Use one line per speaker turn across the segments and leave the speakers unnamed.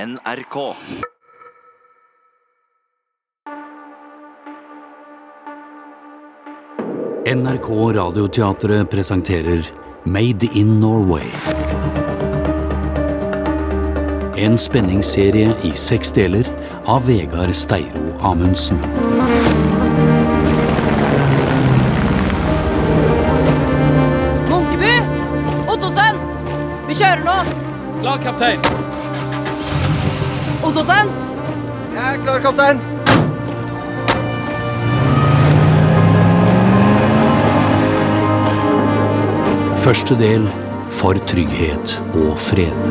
NRK.
NRK Radioteatret presenterer Made in Norway. En spenningsserie i seks deler av Vegard Steiro Amundsen.
Munkeby! Ottosen! Vi kjører nå!
Klar, kaptein.
Ottosen!
Jeg er klar, kaptein.
Første del For trygghet og fred.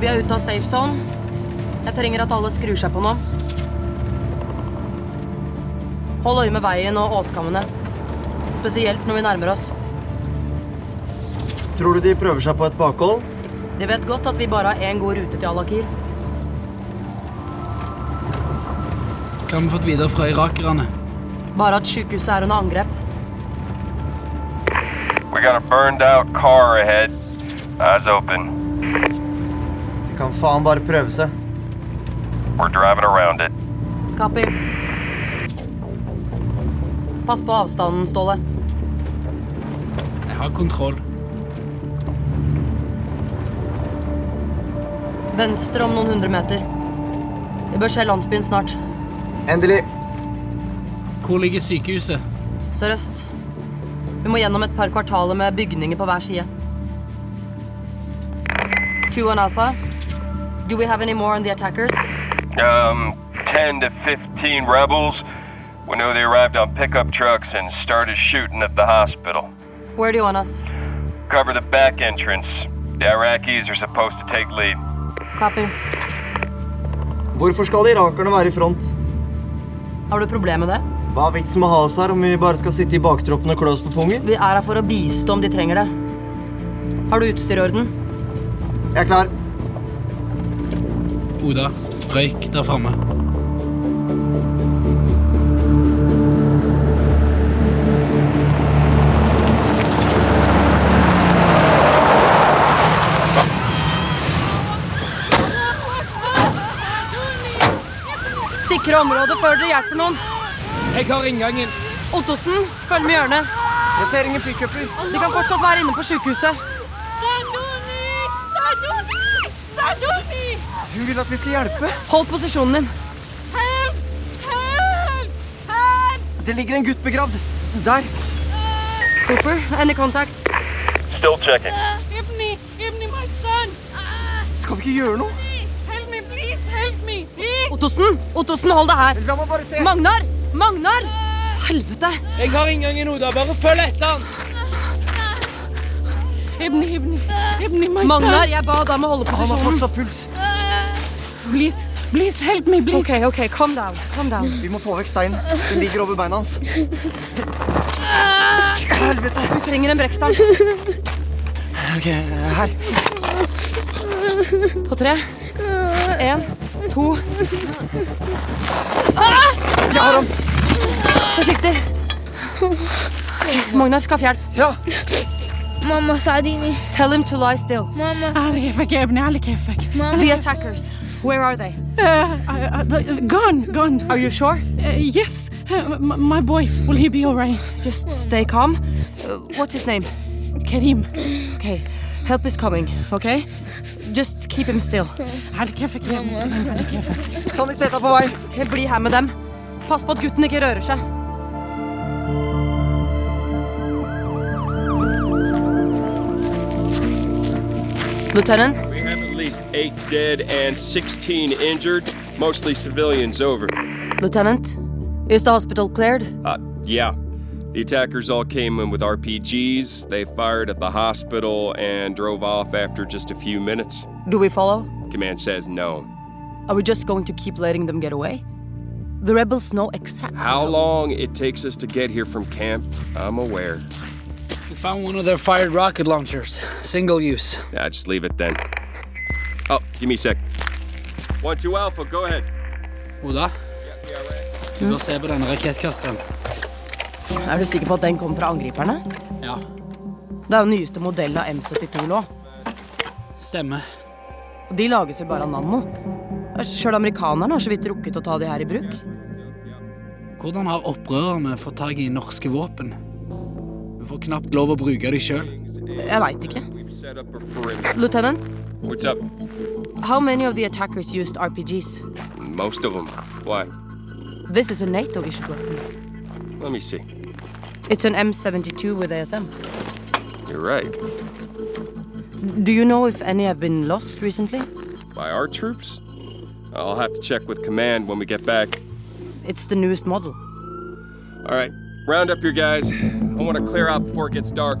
Vi er ute av safe zone. Jeg trenger at alle skrur seg på nå. Hold øye med veien og åskammene. Spesielt når vi nærmer oss.
Tror du de prøver seg på et bakhold?
De vet godt at vi bare har én god rute til Al-Akir.
Hva har vi fått videre fra irakerne?
Bare at sykehuset er under angrep.
We got a burned out car ahead. Eyes open.
De kan faen bare prøve seg.
We're driving around it.
Kapi. Pass på avstanden, Ståle.
Jeg har kontroll.
Venstre om noen hundre meter. Vi bør se landsbyen snart.
Endelig.
Hvor ligger sykehuset?
Sørøst. Vi må gjennom et par kvartaler med bygninger på hver side. Two and Alpha. Do we have any more on the attackers?
Um, 10 to 15 rebels. We know they arrived on pickup trucks and started shooting at the hospital.
Where do you want us?
Cover the back entrance. The Iraqis are supposed to take lead.
Copy.
Hvorfor skal irakerne være i front?
Har du problemer med det?
Hva er vitsen med å ha oss her om vi bare skal sitte i baktroppen og klø oss på pungen?
Vi er her for å bistå om de trenger det. Har du utstyr i orden?
Jeg er klar.
Oda, røyk der framme.
Sikre området før dere hjelper noen.
Jeg har inngangen.
Ottosen, følg med i hjørnet.
Jeg ser ingen pickuper.
De kan fortsatt være inne på sykehuset.
Sadoni! Sadoni! Sadoni!
Hun vil at vi skal hjelpe.
Hold posisjonen din.
Help! Help! Help!
Det ligger en gutt begravd. Der.
Cooper, any contact?
Still checking.
Uh, Ibni! Ibni, my son! Ah,
Skal vi ikke gjøre noe?
help me, please! Help me! Please!
Ottosen, Ottosen, hold deg her.
La meg bare se.
Magnar! Magnar! Helvete!
Jeg har inngangen, Oda. Bare følg etter han.
Ibni, Ibni! Ibni, my
Magnar,
son! Eh.
jeg ba deg om å holde
Han har
posisjonen.
fortsatt puls.
Please! Please, help me, please!
Ok, ok, calm down. calm down.
Vi må få vekk steinen. Den ligger over beina hans. Helvete.
Du trenger en brekkstang.
Ok, her.
På tre. En, to.
Jeg har ham.
Forsiktig. Magnar, skaff hjelp.
Ja.
ماما ساعديني
Tell him to lie still.
ماما
على كيفك يا ابني على كيفك
The attackers. Where are they? eh,
gone gone
Are you sure?
uh, yes uh,
Eh,
m- my boy will he be all right
Just stay calm. Uh, what's his name?
كريم
Okay, help is coming, okay? Just keep him still.
على كيفك يا ابني كريم على كيفك
Saniteten er på vei.
Okay, bli her med dem. Pass på at gutten ikke rører seg. Lieutenant,
We have at least eight dead and 16 injured, mostly civilians over.
Lieutenant, is the hospital cleared?
Uh, yeah. The attackers all came in with RPGs. They fired at the hospital and drove off after just a few minutes.
Do we follow?
Command says no.
Are we just going to keep letting them get away? The rebels know exactly.
How long it takes us to get here from camp, I'm aware.
We found one of their fired rocket launchers. Single use.
I just leave it then. Oh, give me a sec. One two alpha. Go ahead.
Oda, du bør se på denne rakettkasteren.
Er du sikker på at den kom fra angriperne?
Ja,
Det er jo nyeste modell av M72 nå.
stemmer.
Og de lages jo bare av Nammo. Sjøl amerikanerne har så vidt rukket å ta de her i bruk.
Hvordan har opprørerne fått tak i norske våpen? Vi får knapt lov å bruke de sjøl.
Jeg veit ikke.
We've set up a perimeter.
Lieutenant,
What's up?
how many of the attackers used RPGs?
Most of them. Why?
This is a NATO issue weapon.
Let me see.
It's an M72 with ASM.
You're right.
Do you know if any have been lost recently?
By our troops? I'll have to check with command when we get back.
It's the newest model.
All right, round up your guys. I want to clear out before it gets dark.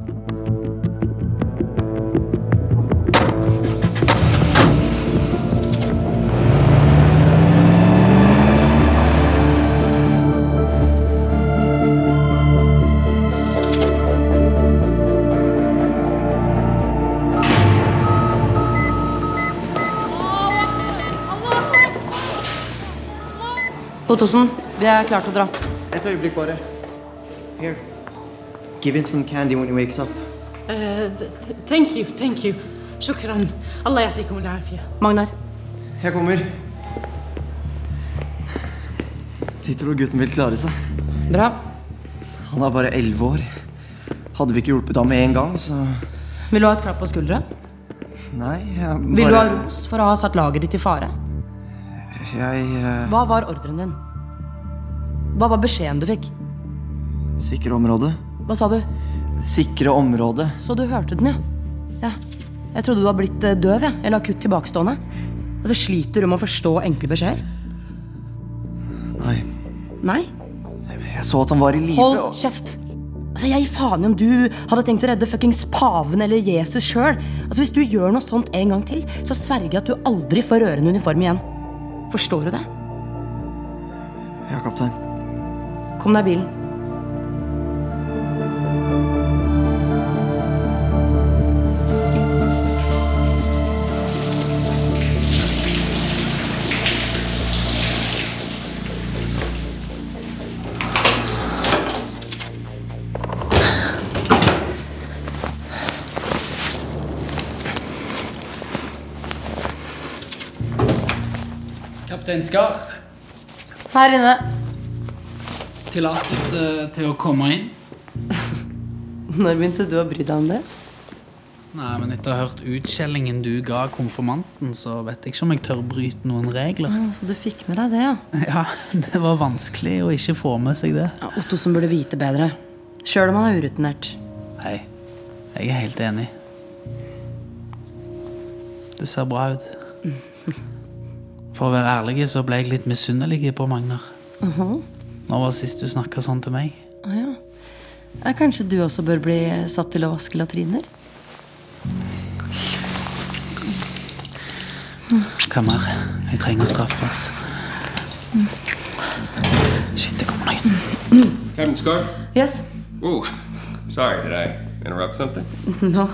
Ottosen, vi er klare til å dra.
Et øyeblikk bare. Here. Give him some candy when he wakes up.
Uh, th- th- thank you, thank you. شكرا الله يعطيكم العافية
Magnar,
Jeg kommer. De tror gutten vil klare seg.
bra.
Han er bare 11 år. Hadde vi ikke hjulpet ham med en gang, så
Vil du ha et klapp på skuldra?
Nei, jeg bare
Vil du ha ros for å ha satt laget ditt i fare?
Jeg eh,
Hva var ordren din? Hva var beskjeden du fikk?
Sikre området.
Hva sa du?
Sikre området.
Så du hørte den, ja. ja. Jeg trodde du var blitt eh, døv, jeg. Eller akutt tilbakestående. Og så sliter du med å forstå enkle beskjeder?
Nei.
Nei?
Jeg så at han var i live.
Hold
og-
kjeft! Altså, Jeg gir faen i om du hadde tenkt å redde fuckings paven eller Jesus sjøl. Altså, hvis du gjør noe sånt en gang til, så sverger jeg at du aldri får røre en uniform igjen. Forstår du det?
Ja, kaptein.
Kom deg i bilen.
Kaptein Skar,
Her inne.
tillatelse til å komme inn?
Når begynte du å bry deg om det?
Nei, men etter å ha hørt utskjellingen du ga konfirmanten, så vet jeg ikke om jeg tør bryte noen regler.
Så du fikk med deg det, ja.
Ja, det var vanskelig å ikke få med seg det.
ja Otto som burde vite bedre. Sjøl om han er urutinert.
Hei, jeg er helt enig. Du ser bra ut. For å være ærlig så ble jeg litt misunnelig på Magnar. Nå var sist du snakka sånn til meg.
Mhm. Å ja. ja. Kanskje du også bør bli satt til å vaske latriner?
Hva mer? Jeg trenger å straffes. Shit, det kommer noen.
Captain Scar?
Yes.
Ooh, sorry, did I interrupt something?
Nå.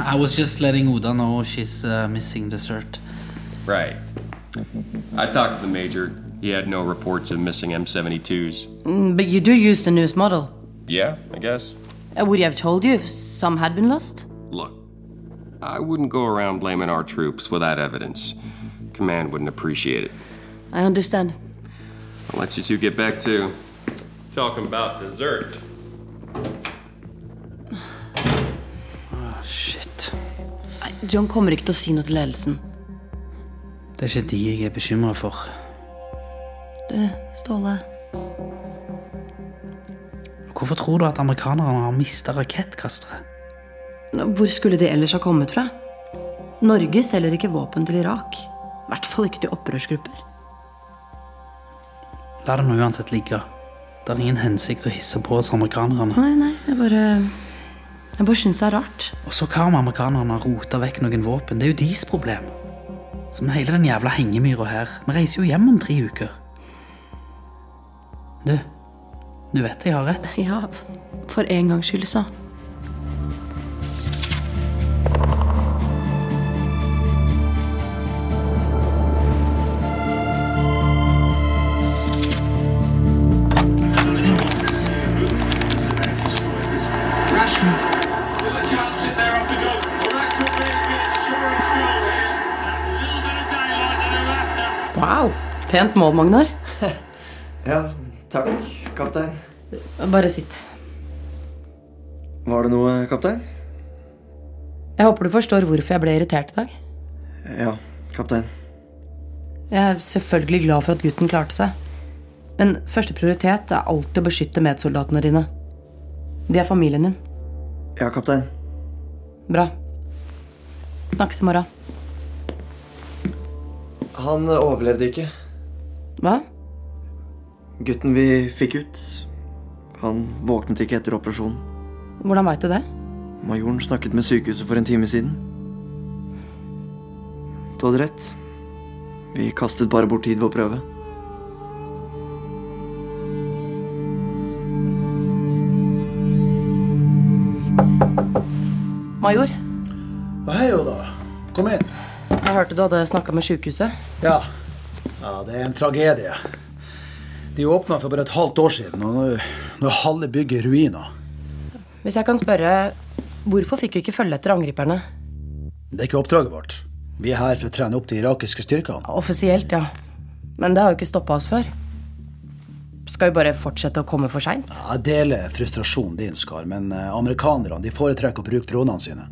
I was just letting Oda know she's uh, missing dessert.
Right. I talked to the major. He had no reports of missing M72s.
But you do use the newest model.
Yeah, I guess.
Uh, Would you have told you if some had been lost?
Look, I wouldn't go around blaming our troops without evidence. Command wouldn't appreciate it.
I understand.
I'll let you two get back to talking about dessert.
Shit.
John kommer ikke til å si noe til ledelsen.
Det er ikke de jeg er bekymra for.
Du, Ståle.
Hvorfor tror du at amerikanerne har mista rakettkastere?
Hvor skulle de ellers ha kommet fra? Norge selger ikke våpen til Irak. I hvert fall ikke til opprørsgrupper.
La det nå uansett ligge. Det er ingen hensikt å hisse på oss amerikanerne.
Nei, nei, jeg bare Jeg bare syns det er rart.
Og så hva om amerikanerne har rota vekk noen våpen? Det er jo deres problem. Som hele den jævla hengemyra her. Vi reiser jo hjem om tre uker. Du, du vet jeg har rett.
Ja, for en gangs skyld, så. Wow. Pent mål, Magnar.
Ja, takk, kaptein.
Bare sitt.
Var det noe, kaptein?
Jeg håper du forstår hvorfor jeg ble irritert i dag.
Ja, kaptein.
Jeg er selvfølgelig glad for at gutten klarte seg. Men første prioritet er alltid å beskytte medsoldatene dine. De er familien din.
Ja, kaptein.
Bra. Snakkes i morgen.
Han eh, overlevde ikke.
Hva?
Gutten vi fikk ut, han våknet ikke etter operasjonen.
Hvordan veit du det?
Majoren snakket med sykehuset for en time siden. Du hadde rett. Vi kastet bare bort tid ved å prøve.
Major,
Hei, Oda. Kom inn.
jeg hørte du hadde snakka med sjukehuset.
Ja. ja, det er en tragedie. De åpna for bare et halvt år siden, og nå, nå er halve bygget i ruiner.
Hvis jeg kan spørre, hvorfor fikk vi ikke følge etter angriperne?
Det er ikke oppdraget vårt. Vi er her for å trene opp de irakiske styrkene.
Offisielt, ja. Men det har jo ikke stoppa oss før. Skal vi bare fortsette å komme for seint?
Jeg deler frustrasjonen din, Skar, men eh, amerikanerne de foretrekker å bruke dronene sine.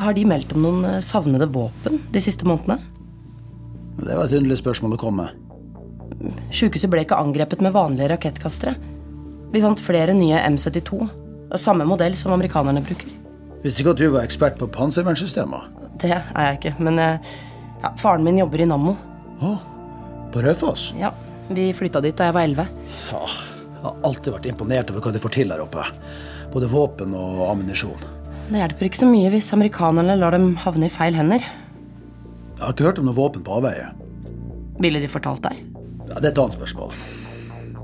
Har de meldt om noen eh, savnede våpen de siste månedene?
Det var et underlig spørsmål å komme med.
Sykehuset ble ikke angrepet med vanlige rakettkastere. Vi fant flere nye M72. av Samme modell som amerikanerne bruker.
Visste ikke at du var ekspert på panservernsystemer.
Det er jeg ikke, men eh, ja, faren min jobber i Nammo.
Å, på Raufoss?
Ja, Vi flytta dit da jeg var elleve.
Ja, jeg har alltid vært imponert over hva de får til der oppe. Både våpen og ammunisjon.
Det hjelper ikke så mye hvis amerikanerne lar dem havne i feil hender.
Jeg har ikke hørt om noe våpen på avveie.
Ville de fortalt deg?
Ja, det er et annet spørsmål.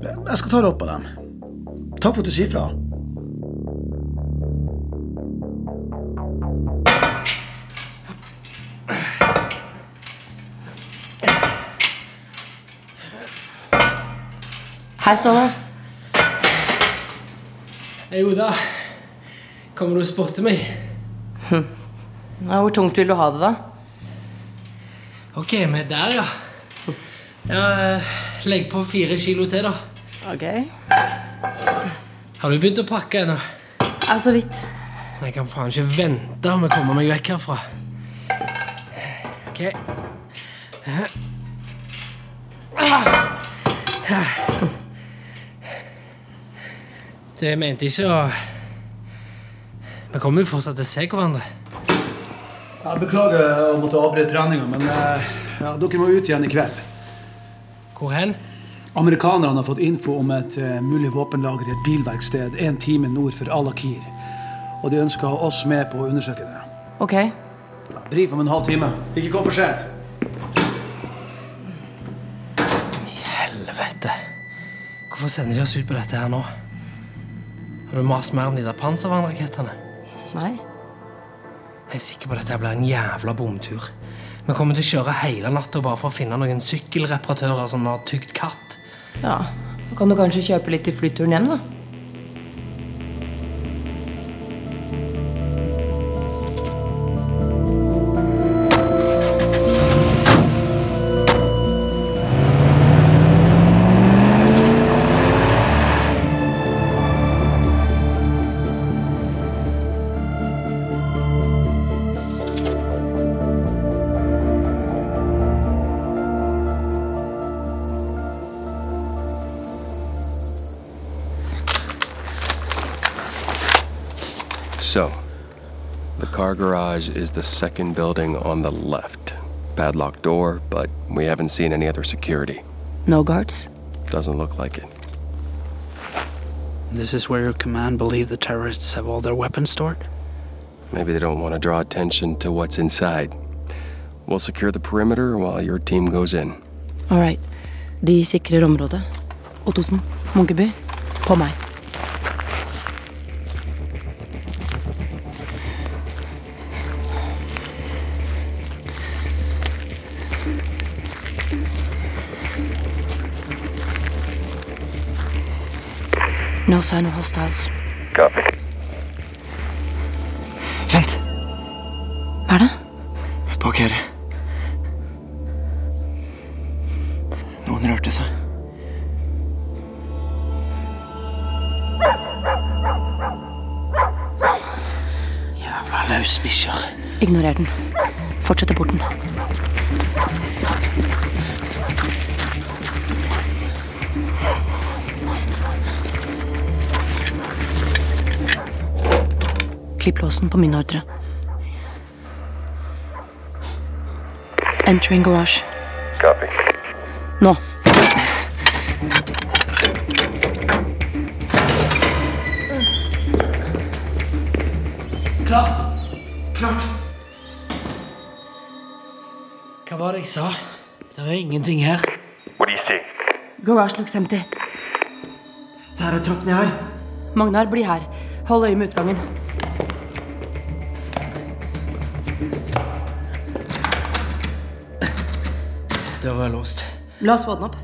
Jeg skal ta det opp med dem. Takk for at du sier fra.
Hei, Ståle.
Hei, Oda. Kommer du og spotter meg?
Hm. Ja, hvor tungt vil du ha det, da?
Ok, vi er der, ja. ja. eh, Legg på fire kilo til, da.
Ok.
Har du begynt å pakke ennå?
Ja, så Altså, vidt.
Jeg kan faen ikke vente med å komme meg vekk herfra. Ok. Du, jeg mente ikke å Vi kommer jo fortsatt til å se hverandre.
Jeg beklager eh, å måtte avbryte treninga, men eh, ja, dere må ut igjen i kveld.
Hvor hen?
Amerikanerne har fått info om et eh, mulig våpenlager i et bilverksted en time nord for Al-Akir. Og de ønsker oss med på å undersøke det.
Ok.
Brif om en halv time. Ikke kom for sent.
Helvete. Hvorfor sender de oss ut på dette her nå? Har du mast mer om de der panservernrakettene?
Nei.
Jeg er sikker på at dette her blir en jævla bomtur. Vi kommer til å kjøre hele natta bare for å finne noen sykkelreparatører som har tygd katt.
Ja, Da kan du kanskje kjøpe litt til flyturen hjem, da.
So, the car garage is the second building on the left. Padlocked door, but we haven't seen any other security.
No guards?
Doesn't look like it.
This is where your command believe the terrorists have all their weapons stored?
Maybe they don't want to draw attention to what's inside. We'll secure the perimeter while your team goes in.
All right. De sikrer området. Ottosen, Munkeby, på meg. No sign of hostiles.
Copy.
Vent. Hva er det?
Parker. Noen rørte seg.
Jævla løsbikkjer.
Ignorer den. Fortsetter bort den. Klipp låsen på min ordre. Entering garage.
Copy.
Nå.
Klart. Klart. Hva var det jeg sa? Det er ingenting her.
What do you see?
Garage looks empty.
Der er trappene her.
Magnar, bli her. Hold øye med utgangen.
Døra er låst.
La oss få den opp.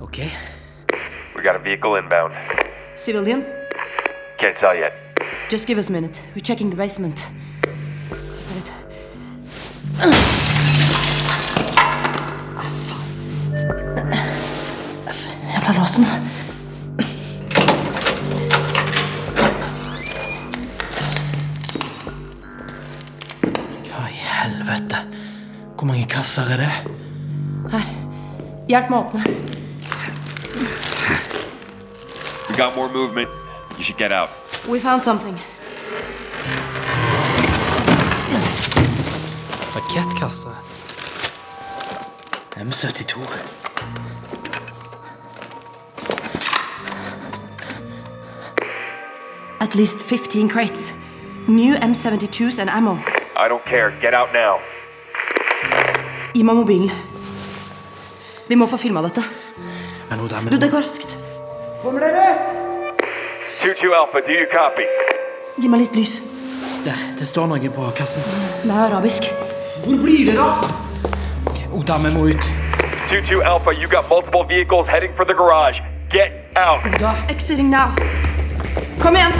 Ok.
We got a vehicle inbound.
Civilian,
Can't tell yet.
just give us a minute. We're checking the basement. Vent litt. Jævla låsen.
Hva i helvete? Hvor mange kasser er det?
Hjelp meg å åpne.
We got more movement. You should get out.
We found something.
Rakettkastere. M72.
At least 15 crates. New M72s and ammo.
I don't care. Get out now.
Gi meg mobilen. Vi må få filma dette.
Men Oda,
Du, det går raskt. Kommer dere?
2-2 Alpha, do you copy?
Gi meg litt lys.
Der, det står noe på kassen.
Mm.
Det er arabisk.
Hvor blir det av? Oda, vi må ut.
2-2 Alpha, you got multiple vehicles heading for the garage. Get out.
Exiting now. Kom igjen!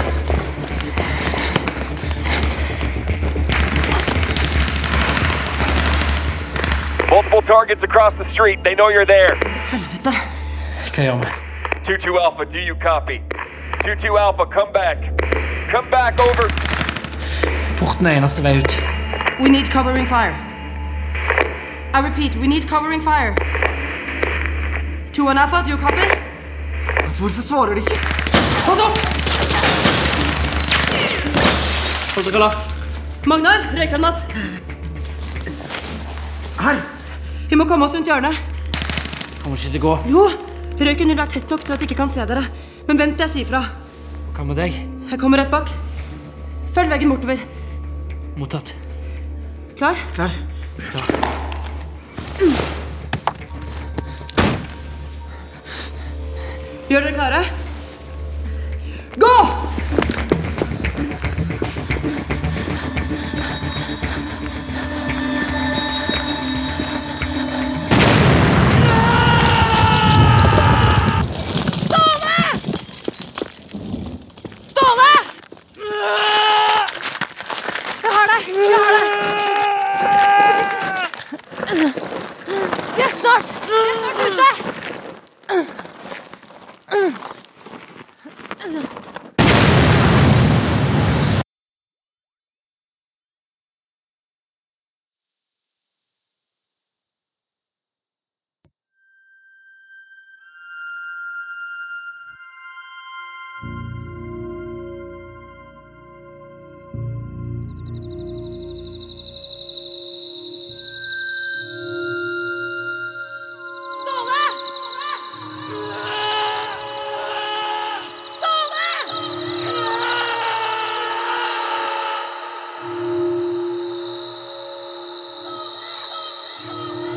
Multiple targets across the street. They know you're there.
Helvete.
Hva gjør vi?
2-2 Alpha, do you copy? 2-2 Alpha, come back. Come back, over.
Porten er eneste vei ut.
We need covering fire. I repeat, we need covering fire. Two and alpha, do you copy?
Hvorfor svarer de ikke? Pass opp! Pass dere lavt.
Magnar, røykgranat.
Her!
Vi må komme oss rundt hjørnet.
Kommer ikke til å gå.
Jo, røyken vil være tett nok til at de ikke kan se dere. Men vent til jeg sier fra.
Hva med deg?
Jeg kommer rett bak. Følg veggen bortover.
Mottatt.
Klar?
Klar.
Gjør dere klare? Gå! Ståle! Jeg har deg! Jeg har deg! Vi er snart Vi er snart ute!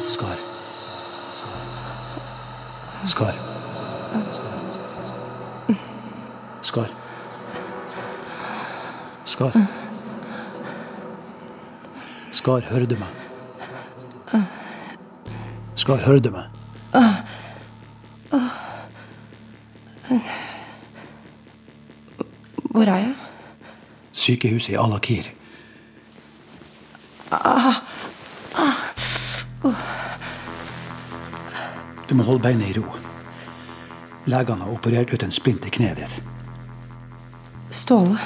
Skar. Skar. Skar. Skar. Skar, hører du meg? Skar, hører du meg?
Åh. Åh. Hvor er jeg?
Sykehuset i Al-Akir.
Ah. Ah. Åh.
Du må holde beinet i ro. Legene har operert ut en splint i kneet ditt.
Ståle.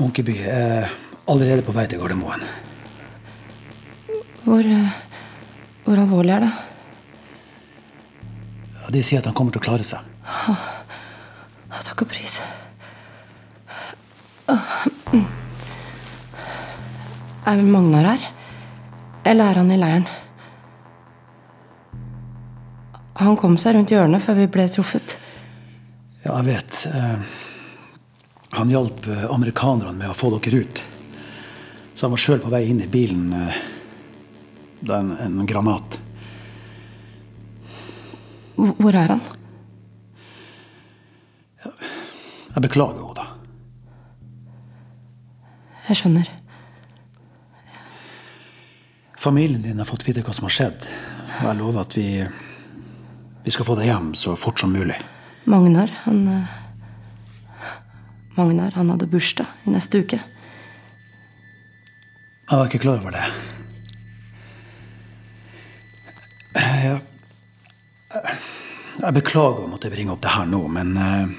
Munkeby er allerede på vei til Gardermoen.
Hvor, eh, hvor alvorlig er det?
Ja, De sier at han kommer til å klare seg.
Åh, Takk og pris. Åh. Er Magnar her? Eller er han i leiren? Han kom seg rundt hjørnet før vi ble truffet.
Ja, jeg vet. eh, Han hjalp eh, amerikanerne med å få dere ut. Så han var sjøl på vei inn i bilen eh, da en, en granat
Hvor hvor er han?
Jeg beklager, Oda.
Jeg skjønner.
Familien din har fått vite hva som har skjedd. Og jeg lover at vi, vi skal få deg hjem så fort som mulig.
Magnar, han eh, Magnar, han hadde bursdag i neste uke.
Jeg var ikke klar over det. Jeg, jeg beklager å måtte bringe opp det her nå, men eh,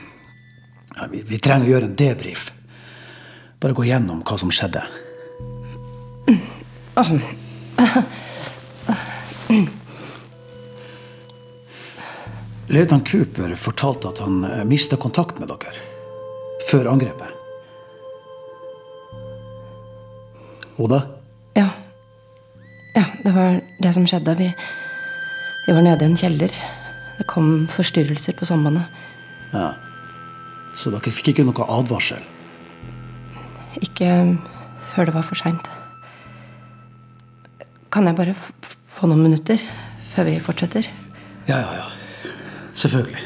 ja, vi, vi trenger å gjøre en debrief. Bare gå gjennom hva som skjedde. Løytnant Cooper fortalte at han mista kontakt med dere før angrepet. Oda?
Ja. Ja, det var det som skjedde. Vi, vi var nede i en kjeller. Det kom forstyrrelser på sambandet.
Ja. Så dere fikk ikke noe advarsel?
Ikke um, før det var for seint. Kan jeg bare f f- få noen minutter før vi fortsetter?
Ja, ja, ja. Selvfølgelig.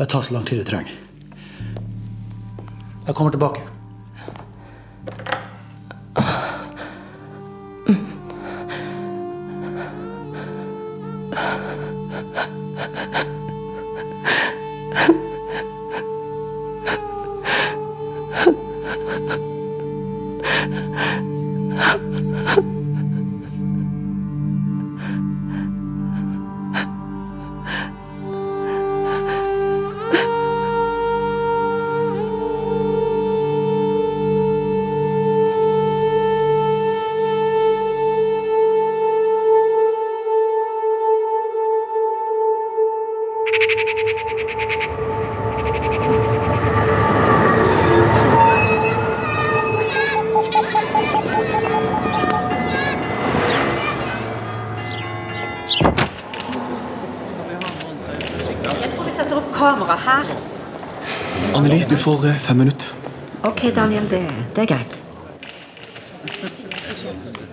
Bare ta så lang tid du trenger. Jeg kommer tilbake.
Vi setter opp kamera her.
Anneli, du får eh, fem minutter.
Ok, Daniel, det, det er greit.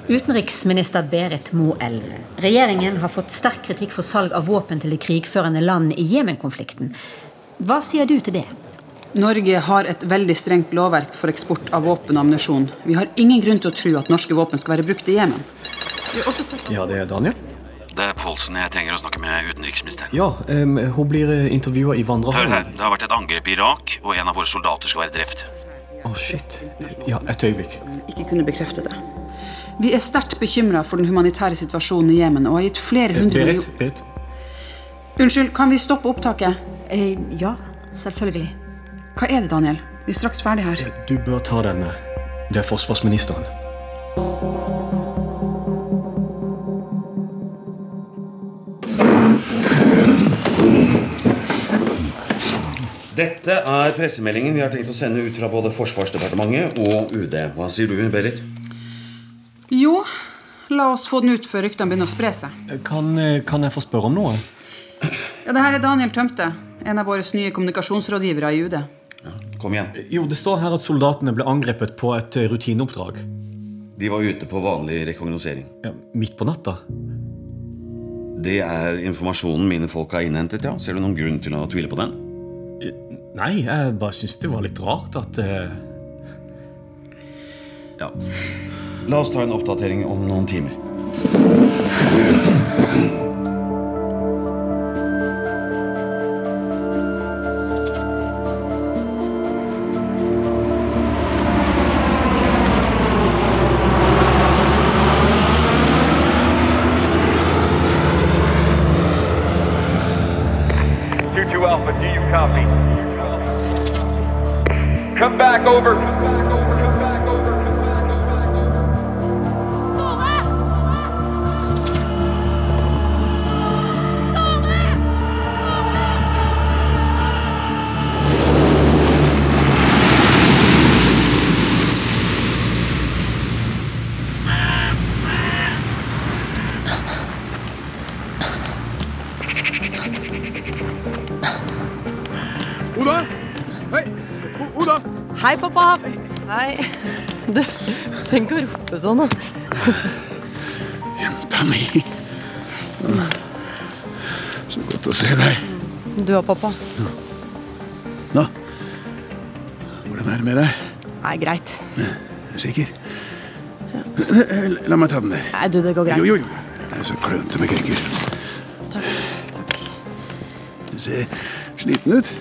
Utenriksminister Berit Moelv. Regjeringen har fått sterk kritikk for salg av våpen til det krigførende land i Jemen-konflikten. Hva sier du til det?
Norge har et veldig strengt lovverk for eksport av våpen og ammunisjon. Vi har ingen grunn til å tro at norske våpen skal være brukt i Jemen.
Ja, det er Daniel.
Det er Polsen jeg trenger å snakke med utenriksministeren.
Ja, em, hun blir intervjua
Hør
i
her,
Vandrehallen.
det har vært et angrep i Irak, og en av våre soldater skal være drept.
Å, shit. Ja, et øyeblikk.
Ikke kunne bekrefte det. Vi er sterkt bekymra for den humanitære situasjonen i Jemen og har gitt flere
Eh,
hundre
Berit,
millioner
Berit.
Unnskyld, kan vi stoppe opptaket?
Eh, ja, selvfølgelig.
Hva er det, Daniel? Vi er straks ferdig her.
Du bør ta denne. Det er forsvarsministeren.
Dette er pressemeldingen vi har tenkt å sende ut fra både Forsvarsdepartementet og UD. Hva sier du, Berit?
Jo, la oss få den ut før ryktene begynner å spre seg.
Kan, eh, kan jeg få spørre om noe?
Ja, det her er Daniel Tømte, en av våre nye kommunikasjonsrådgivere i UD.
Kom igjen.
Jo, det står her at soldatene ble angrepet på et eh, rutineoppdrag.
De var ute på vanlig rekognosering.
Midt på natta.
Det er informasjonen mine folk har innhentet, ja. Ser du noen grunn til å tvile på den?
Nei, jeg bare syns det var litt rart at eh,
Ja. La oss ta en oppdatering om noen timer.
back over.
Oda! Hei! O- Oda!
Hei, pappa. Hei. Du, tenk å rope sånn, da.
Jenta mi. Så godt å se deg.
Du og pappa.
Nå, hvordan er det med deg?
Nei, greit.
Er du sikker? Eh, La meg ta den der.
Nei, du, det går greit.
Jo, jo, jo. Jeg er så klønete med krykker. Takk. takk. Du ser sliten ut.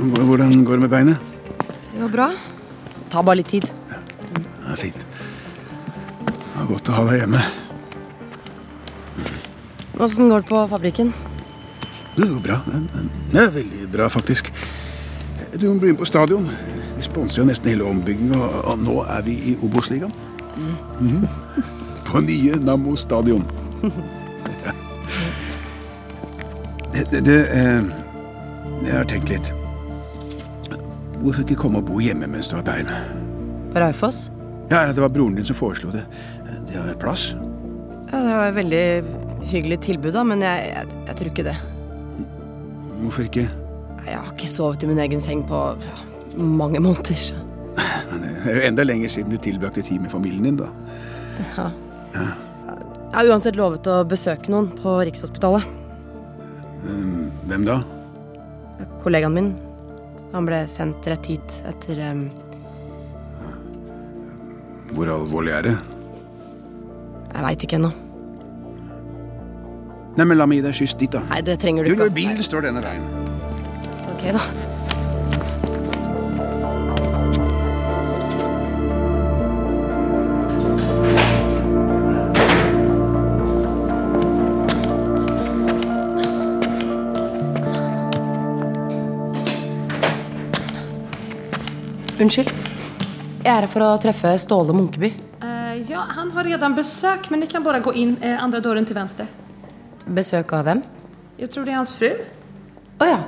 Hvor- Hvordan går det med beinet?
Det går bra. Ta bare litt tid.
Det er fint. Det var godt å ha deg hjemme.
Åssen går det på fabrikken?
Det går bra. Det er- Det er veldig bra, faktisk. Du må bli med på stadion. Vi sponser jo nesten hele ombyggingen, og og nå er vi i Obos-ligaen. Mhm. På nye Nammo stadion. Ja. Det- Du, eh, jeg har tenkt litt. Hvorfor ikke komme og bo hjemme mens du har bein?
På Raufoss?
Ja, ja, det var broren din som foreslo det. De har plass.
Ja, det var et veldig hyggelig tilbud, da, men jeg, jeg, jeg tror ikke det.
Hvorfor ikke?
Nei, Jeg har ikke sovet i min egen seng på ja, mange måneder.
Men Det er jo enda lenger siden du tilbrakte tid med familien din, da.
Ja. Jeg har uansett lovet å besøke noen på Rikshospitalet.
Eh, Hvem da?
Kollegaen min. Han ble sendt rett hit etter em,
Hvor alvorlig er det?
Jeg veit ikke ennå.
Nei, men la meg gi deg kyss dit, da.
Nei, det trenger du
Jo,
ikke.
jo, bilen står denne veien.
Ok, da. Unnskyld. Jeg er her for å treffe Ståle Munkeby.
Eh, ja, han har redan besök, men ni kan bara gå in eh, andra dörren till vänster.
Besøk av hvem?
Jag tror det är hans fru.
Å ja.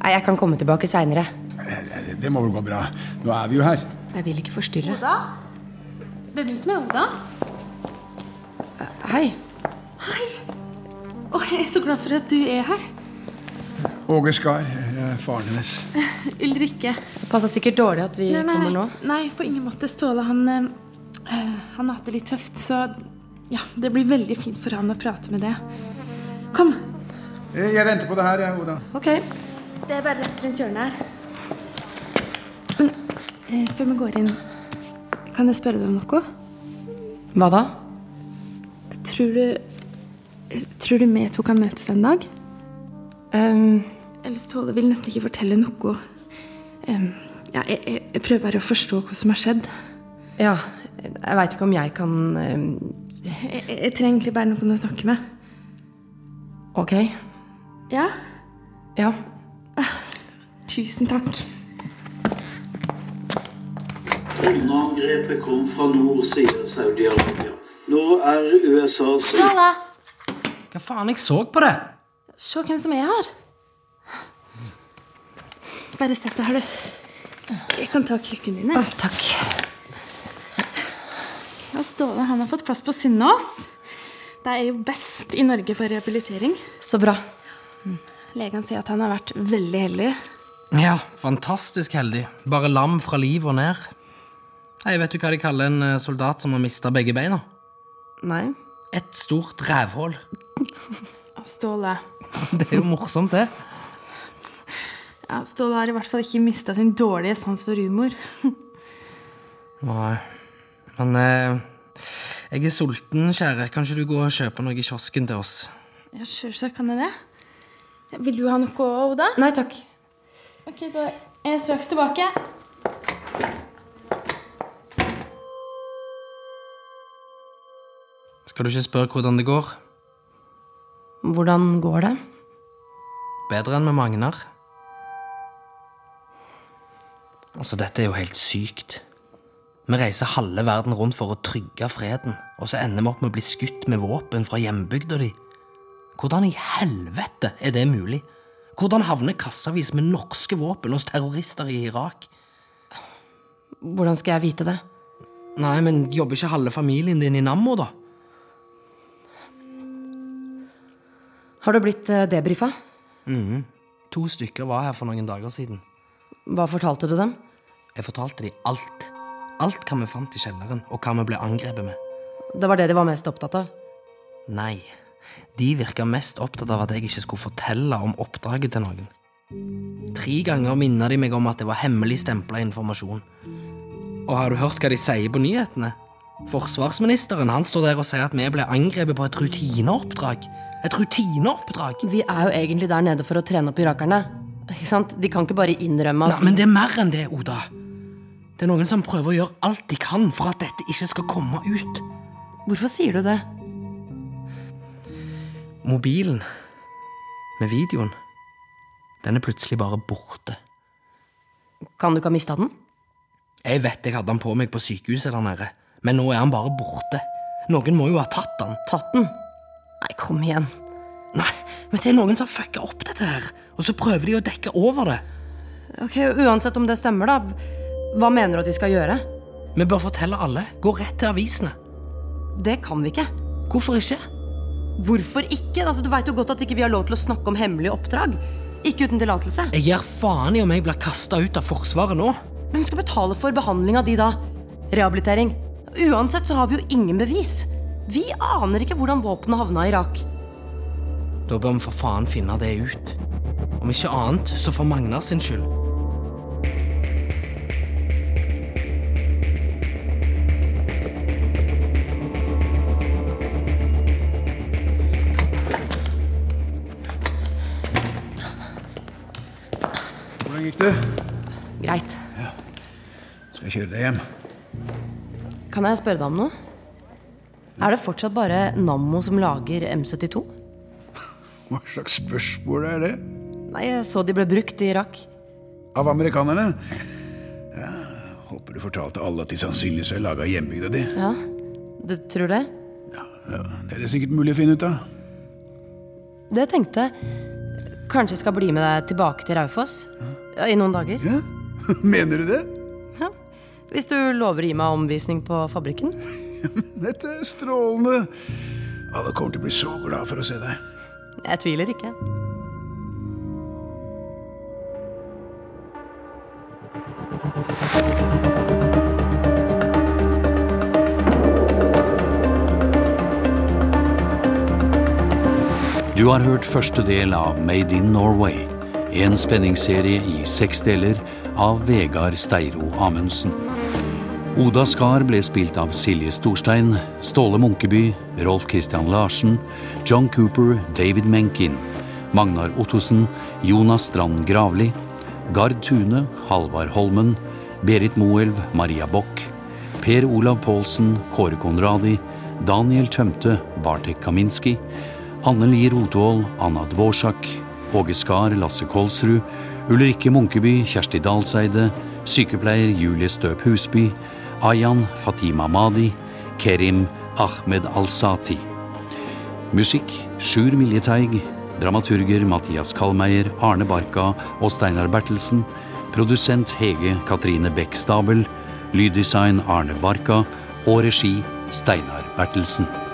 Nei, jeg kan komme tilbake seinere.
Det, Eh, det må vel gå bra. Nå er vi jo her.
Jeg vil ikke forstyrre.
Oda? Det är du som är Oda?
Eh, Hei.
Åh, jag är så glad för att du är här.
Åge Skar, jeg er faren hennes.
Ulrike.
Det passer sikkert dårlig at vi
Nei, nei,
kommer
nei.
nå.
Nei, på ingen måte. Ståle, han, eh, eh, han har hatt det litt tøft, så ja, det blir veldig fint for han å prate med det. Kom.
Eh, Jeg venter på det her, jeg, Oda.
Ok. Det er bare rett rundt hjørnet her. Men eh, før vi går inn, kan jeg spørre deg om noe?
Hva da?
Tror du eh, Tror du vi to kan møtes en dag?
Um,
Ellers Ståle vil nesten ikke fortelle noe. Em, ja, jeg, jeg, jeg prøver bare å forstå hva som har skjedd.
Ja, jeg veit ikke om jeg kan um,
Jeg, jeg, jeg trenger egentlig bare noen å snakke med.
Ok.
Ja? Ah,
Ja.
Tusen takk.
Droneangrepet kom fra nord, sier Saudi-Arabia. Nå er USAs
Ståle!
Hva faen, jeg så på det!
Se hvem som er her. Bare sett deg her, du. Jeg kan ta krykken din. jeg.
takk.
Ja, Ståle han har fått plass på Sunnaas. Det er jo best i Norge for rehabilitering.
Så bra.
Legen sier at han har vært veldig heldig.
Ja, fantastisk heldig. Bare lam fra liv og ned. Hei, vet du hva de kaller en eh, soldat som har mista begge beina?
Nei.
Et stort rævhull.
Ja, Ståle
Det er jo morsomt, det.
ja, Ståle har i hvert fall ikke mista sin dårlige sans for humor.
Nei. Men eh, jeg er sulten, kjære. Kan ikke du gå og kjøpe noe i kiosken til oss?
Ja, Sjølsagt kan jeg det. Vil du ha noe, Oda?
Nei takk.
Ok, Da er jeg straks tilbake.
Skal du ikke spørre hvordan det går?
Hvordan går det?
Bedre enn med Magnar. Altså, dette er jo helt sykt. Vi reiser halve verden rundt for å trygge freden, og så ender vi opp med å bli skutt med våpen fra hjembygda di. Hvordan i helvete er det mulig? Hvordan havner kassavis med norske våpen hos terrorister i Irak?
Hvordan skal jeg vite det?
Nei, men jobber ikke halve familien din i Nammo, da?
Har du blitt eh, debrifa?
Mhm. To stykker var her for noen dager siden.
Hva fortalte du dem?
Jeg fortalte dem alt. Alt hva vi fant i kjelleren, og hva vi ble angrepet med.
Det var det de var mest opptatt av.
Nei. De virka mest opptatt av at jeg ikke skulle fortelle om oppdraget til noen. Tre ganger minna de meg om at det var hemmelig stempla informasjon. Og har du hørt hva de sier på nyhetene? Forsvarsministeren han står der og sier at vi ble angrepet på et rutineoppdrag. Et rutineoppdrag?
Vi er jo egentlig der nede for å trene opp irakerne. Ikke sant? De kan ikke bare innrømme at
Nei, men det er mer enn det, Oda. Det er noen som prøver å gjøre alt de kan for at dette ikke skal komme ut.
Hvorfor sier du det?
Mobilen med videoen, den er plutselig bare borte.
Kan du ikke ha mista den?
Jeg vet jeg hadde den på meg på sykehuset der nede, men nå er han bare borte. Noen må jo ha tatt den.
Tatt den? Nei, kom igjen.
Nei, men det er noen som har fucka opp dette her, og så prøver de å dekke over det.
Ok, Uansett om det stemmer, da. Hva mener du at vi skal gjøre?
Vi bør fortelle alle. Gå rett til avisene.
Det kan vi ikke.
Hvorfor ikke?
Hvorfor ikke? Altså, du veit jo godt at ikke vi har lov til å snakke om hemmelige oppdrag. Ikke uten tillatelse.
Jeg gir faen i om jeg blir kasta ut av Forsvaret nå.
Hvem skal betale for behandling av de da? Rehabilitering. Uansett så har vi jo ingen bevis. Vi aner ikke hvordan våpenet havna i Irak.
Da bør vi for faen finne det ut. Om ikke annet, så for Magnar sin skyld.
Hvordan gikk det?
Greit.
Skal jeg kjøre deg hjem?
Kan jeg spørre deg om noe? Er det fortsatt bare Nammo som lager M72?
Hva slags spørsmål er det?
Nei, jeg så de ble brukt i Irak.
Av amerikanerne? Ja, håper du fortalte alle at de sannsynligvis har laga hjembygda di.
Ja, du tror det?
Ja, det er det sikkert mulig å finne ut av.
Det tenkte jeg. Kanskje jeg skal bli med deg tilbake til Raufoss? Ja, I noen dager?
Mener du det?
Hvis du lover å gi meg omvisning på fabrikken?
Dette er strålende. Alle kommer til å bli så glad for å se deg.
Jeg tviler ikke.
Du har hørt første del av Made in Norway, en spenningsserie i seks deler av Vegard Steiro Amundsen. Oda Skar ble spilt av Silje Storstein, Ståle Munkeby, Rolf Christian Larsen, John Cooper, David Menkin, Magnar Ottosen, Jonas Strand Gravli, Gard Tune, Halvard Holmen, Berit Moelv, Maria Bock, Per Olav Pålsen, Kåre Konradi, Daniel Tømte, Bartek Kaminski, Anne Li Rotvoll, Anna Dvorsak, Åge Skar, Lasse Kolsrud, Ulrikke Munkeby, Kjersti Dalseide, sykepleier Julie Støp Husby, Ayan Fatima Madi, Kerim Ahmed Al-Sati. Musikk Sjur Miljeteig, dramaturger Mathias Kallmeier, Arne Barka og Steinar Bertelsen, produsent Hege Katrine Bech Stabel, lyddesign Arne Barka og regi Steinar Bertelsen.